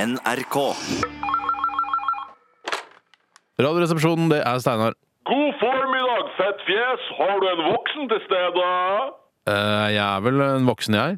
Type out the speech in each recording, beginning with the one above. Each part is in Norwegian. NRK. Radioresepsjonen, det er Steinar. God formiddag, fett fjes. Har du en voksen til stede? Eh, jeg er vel en voksen, jeg.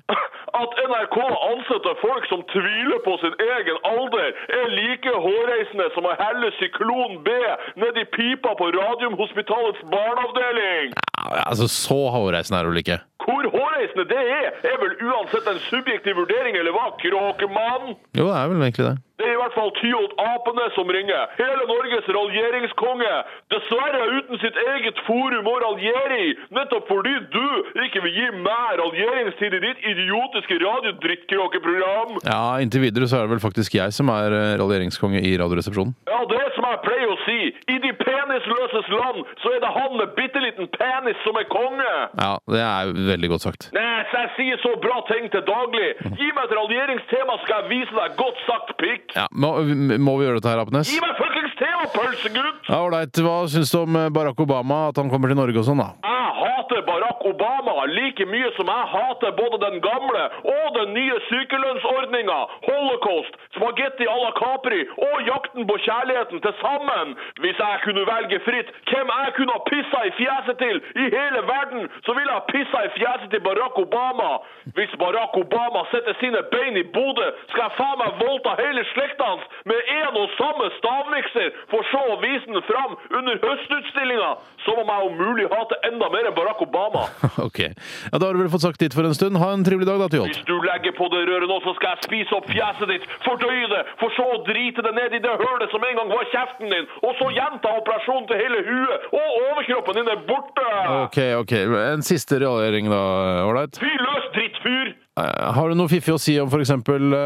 At NRK ansetter folk som tviler på sin egen alder, er like hårreisende som å helle syklon B ned i pipa på Radiumhospitalets barneavdeling. Ja, altså, Så hårreisende er du vel ikke. Hvor hårreisende det er, er vel uansett en subjektiv vurdering, eller hva, kråkemann? Jo, det er vel egentlig det. Det er i hvert fall Tyholt Apene som ringer. Hele Norges raljeringskonge. Dessverre uten sitt eget forum å raljere i. Nettopp fordi du ikke vil gi meg raljeringstid i ditt idiotiske radiodrittkråkeprogram. Ja, Inntil videre så er det vel faktisk jeg som er eh, raljeringskonge i Radioresepsjonen. Ja, det er som jeg pleier å si. I de penisløses land så er det han med bitte liten penis som er konge. Ja, det er veldig godt sagt. Nei, så jeg sier så bra ting til daglig. Gi meg et raljeringstema, skal jeg vise deg godt sagt pikk. Ja, Må, må vi gjøre dette her, Apenes? Gi meg fuckings tema, pølsegutt! Ja, Ålreit. Hva syns du om eh, Barack Obama, at han kommer til Norge og sånn, da? Jeg hater Barack Obama like mye som jeg hater både den gamle og den nye sykelønnsordninga, holocaust, spagetti à la Capri og jakten på kjærligheten til sammen. Hvis jeg kunne velge fritt hvem jeg kunne ha pissa i fjeset til i hele verden, så ville jeg ha pissa i fjeset til Barack Obama. Hvis Barack Obama setter sine bein i Bodø, skal jeg faen meg voldta hele slekta hans med én og samme stavmikser, for så å vise den fram under høstutstillinga, som om jeg om mulig hater enda mer enn Barack Obama. ok. Ja, Da har du vel fått sagt ditt for en stund. Ha en trivelig dag, da, Tyholt. Hvis du legger på det røret nå, så skal jeg spise opp fjeset ditt, fordøye det, for så å drite det ned i det hølet som en gang var kjeften din, og så gjenta operasjonen til hele huet, og overkroppen din er borte! Ok, ok. En siste raljering, da. eh, Ålreit. Fy løs, drittfyr! Eh, Har du noe fiffig å si om f.eks.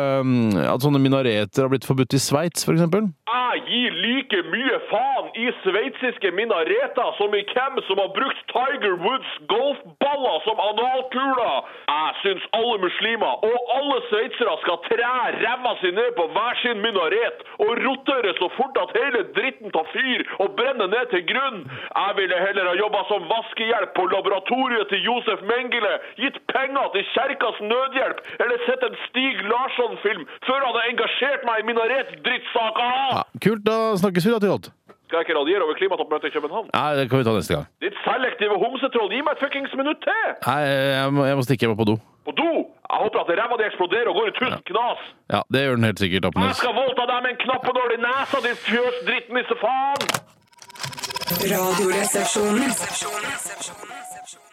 at sånne minareter har blitt forbudt i Sveits, f.eks.? Jeg gir like mye faen i sveitsiske minareter som i hvem som har brukt Tiger Woods golfballer som analkuler. Jeg syns alle muslimer og alle sveitsere skal træ ræva si ned på hver sin minaret og rotere så fort at hele dritten tar fyr og brenner ned til grunn. Jeg ville heller ha jobba som vaskehjelp på laboratoriet til Josef Mengele, gitt penger til Kjerkas nødhjelp eller sett en Stig Larsson-film før han har engasjert meg i minaret-drittsaker! Ja, kult, da snakkes vi da, Tyholt. Skal jeg ikke raljere over klimatoppmøtet i København? Nei, det kan vi ta neste gang. Ditt selektive homsetroll, gi meg et fuckings minutt til! Nei, jeg må, jeg må stikke, jeg må på do. På do! Jeg håper at ræva di eksploderer og går i tusen knas! Ja, det gjør den helt sikkert, Jeg Appenes. skal voldta deg med en knappenål i nesa, din fjøsdrittnissefaen! Radioresepsjonen.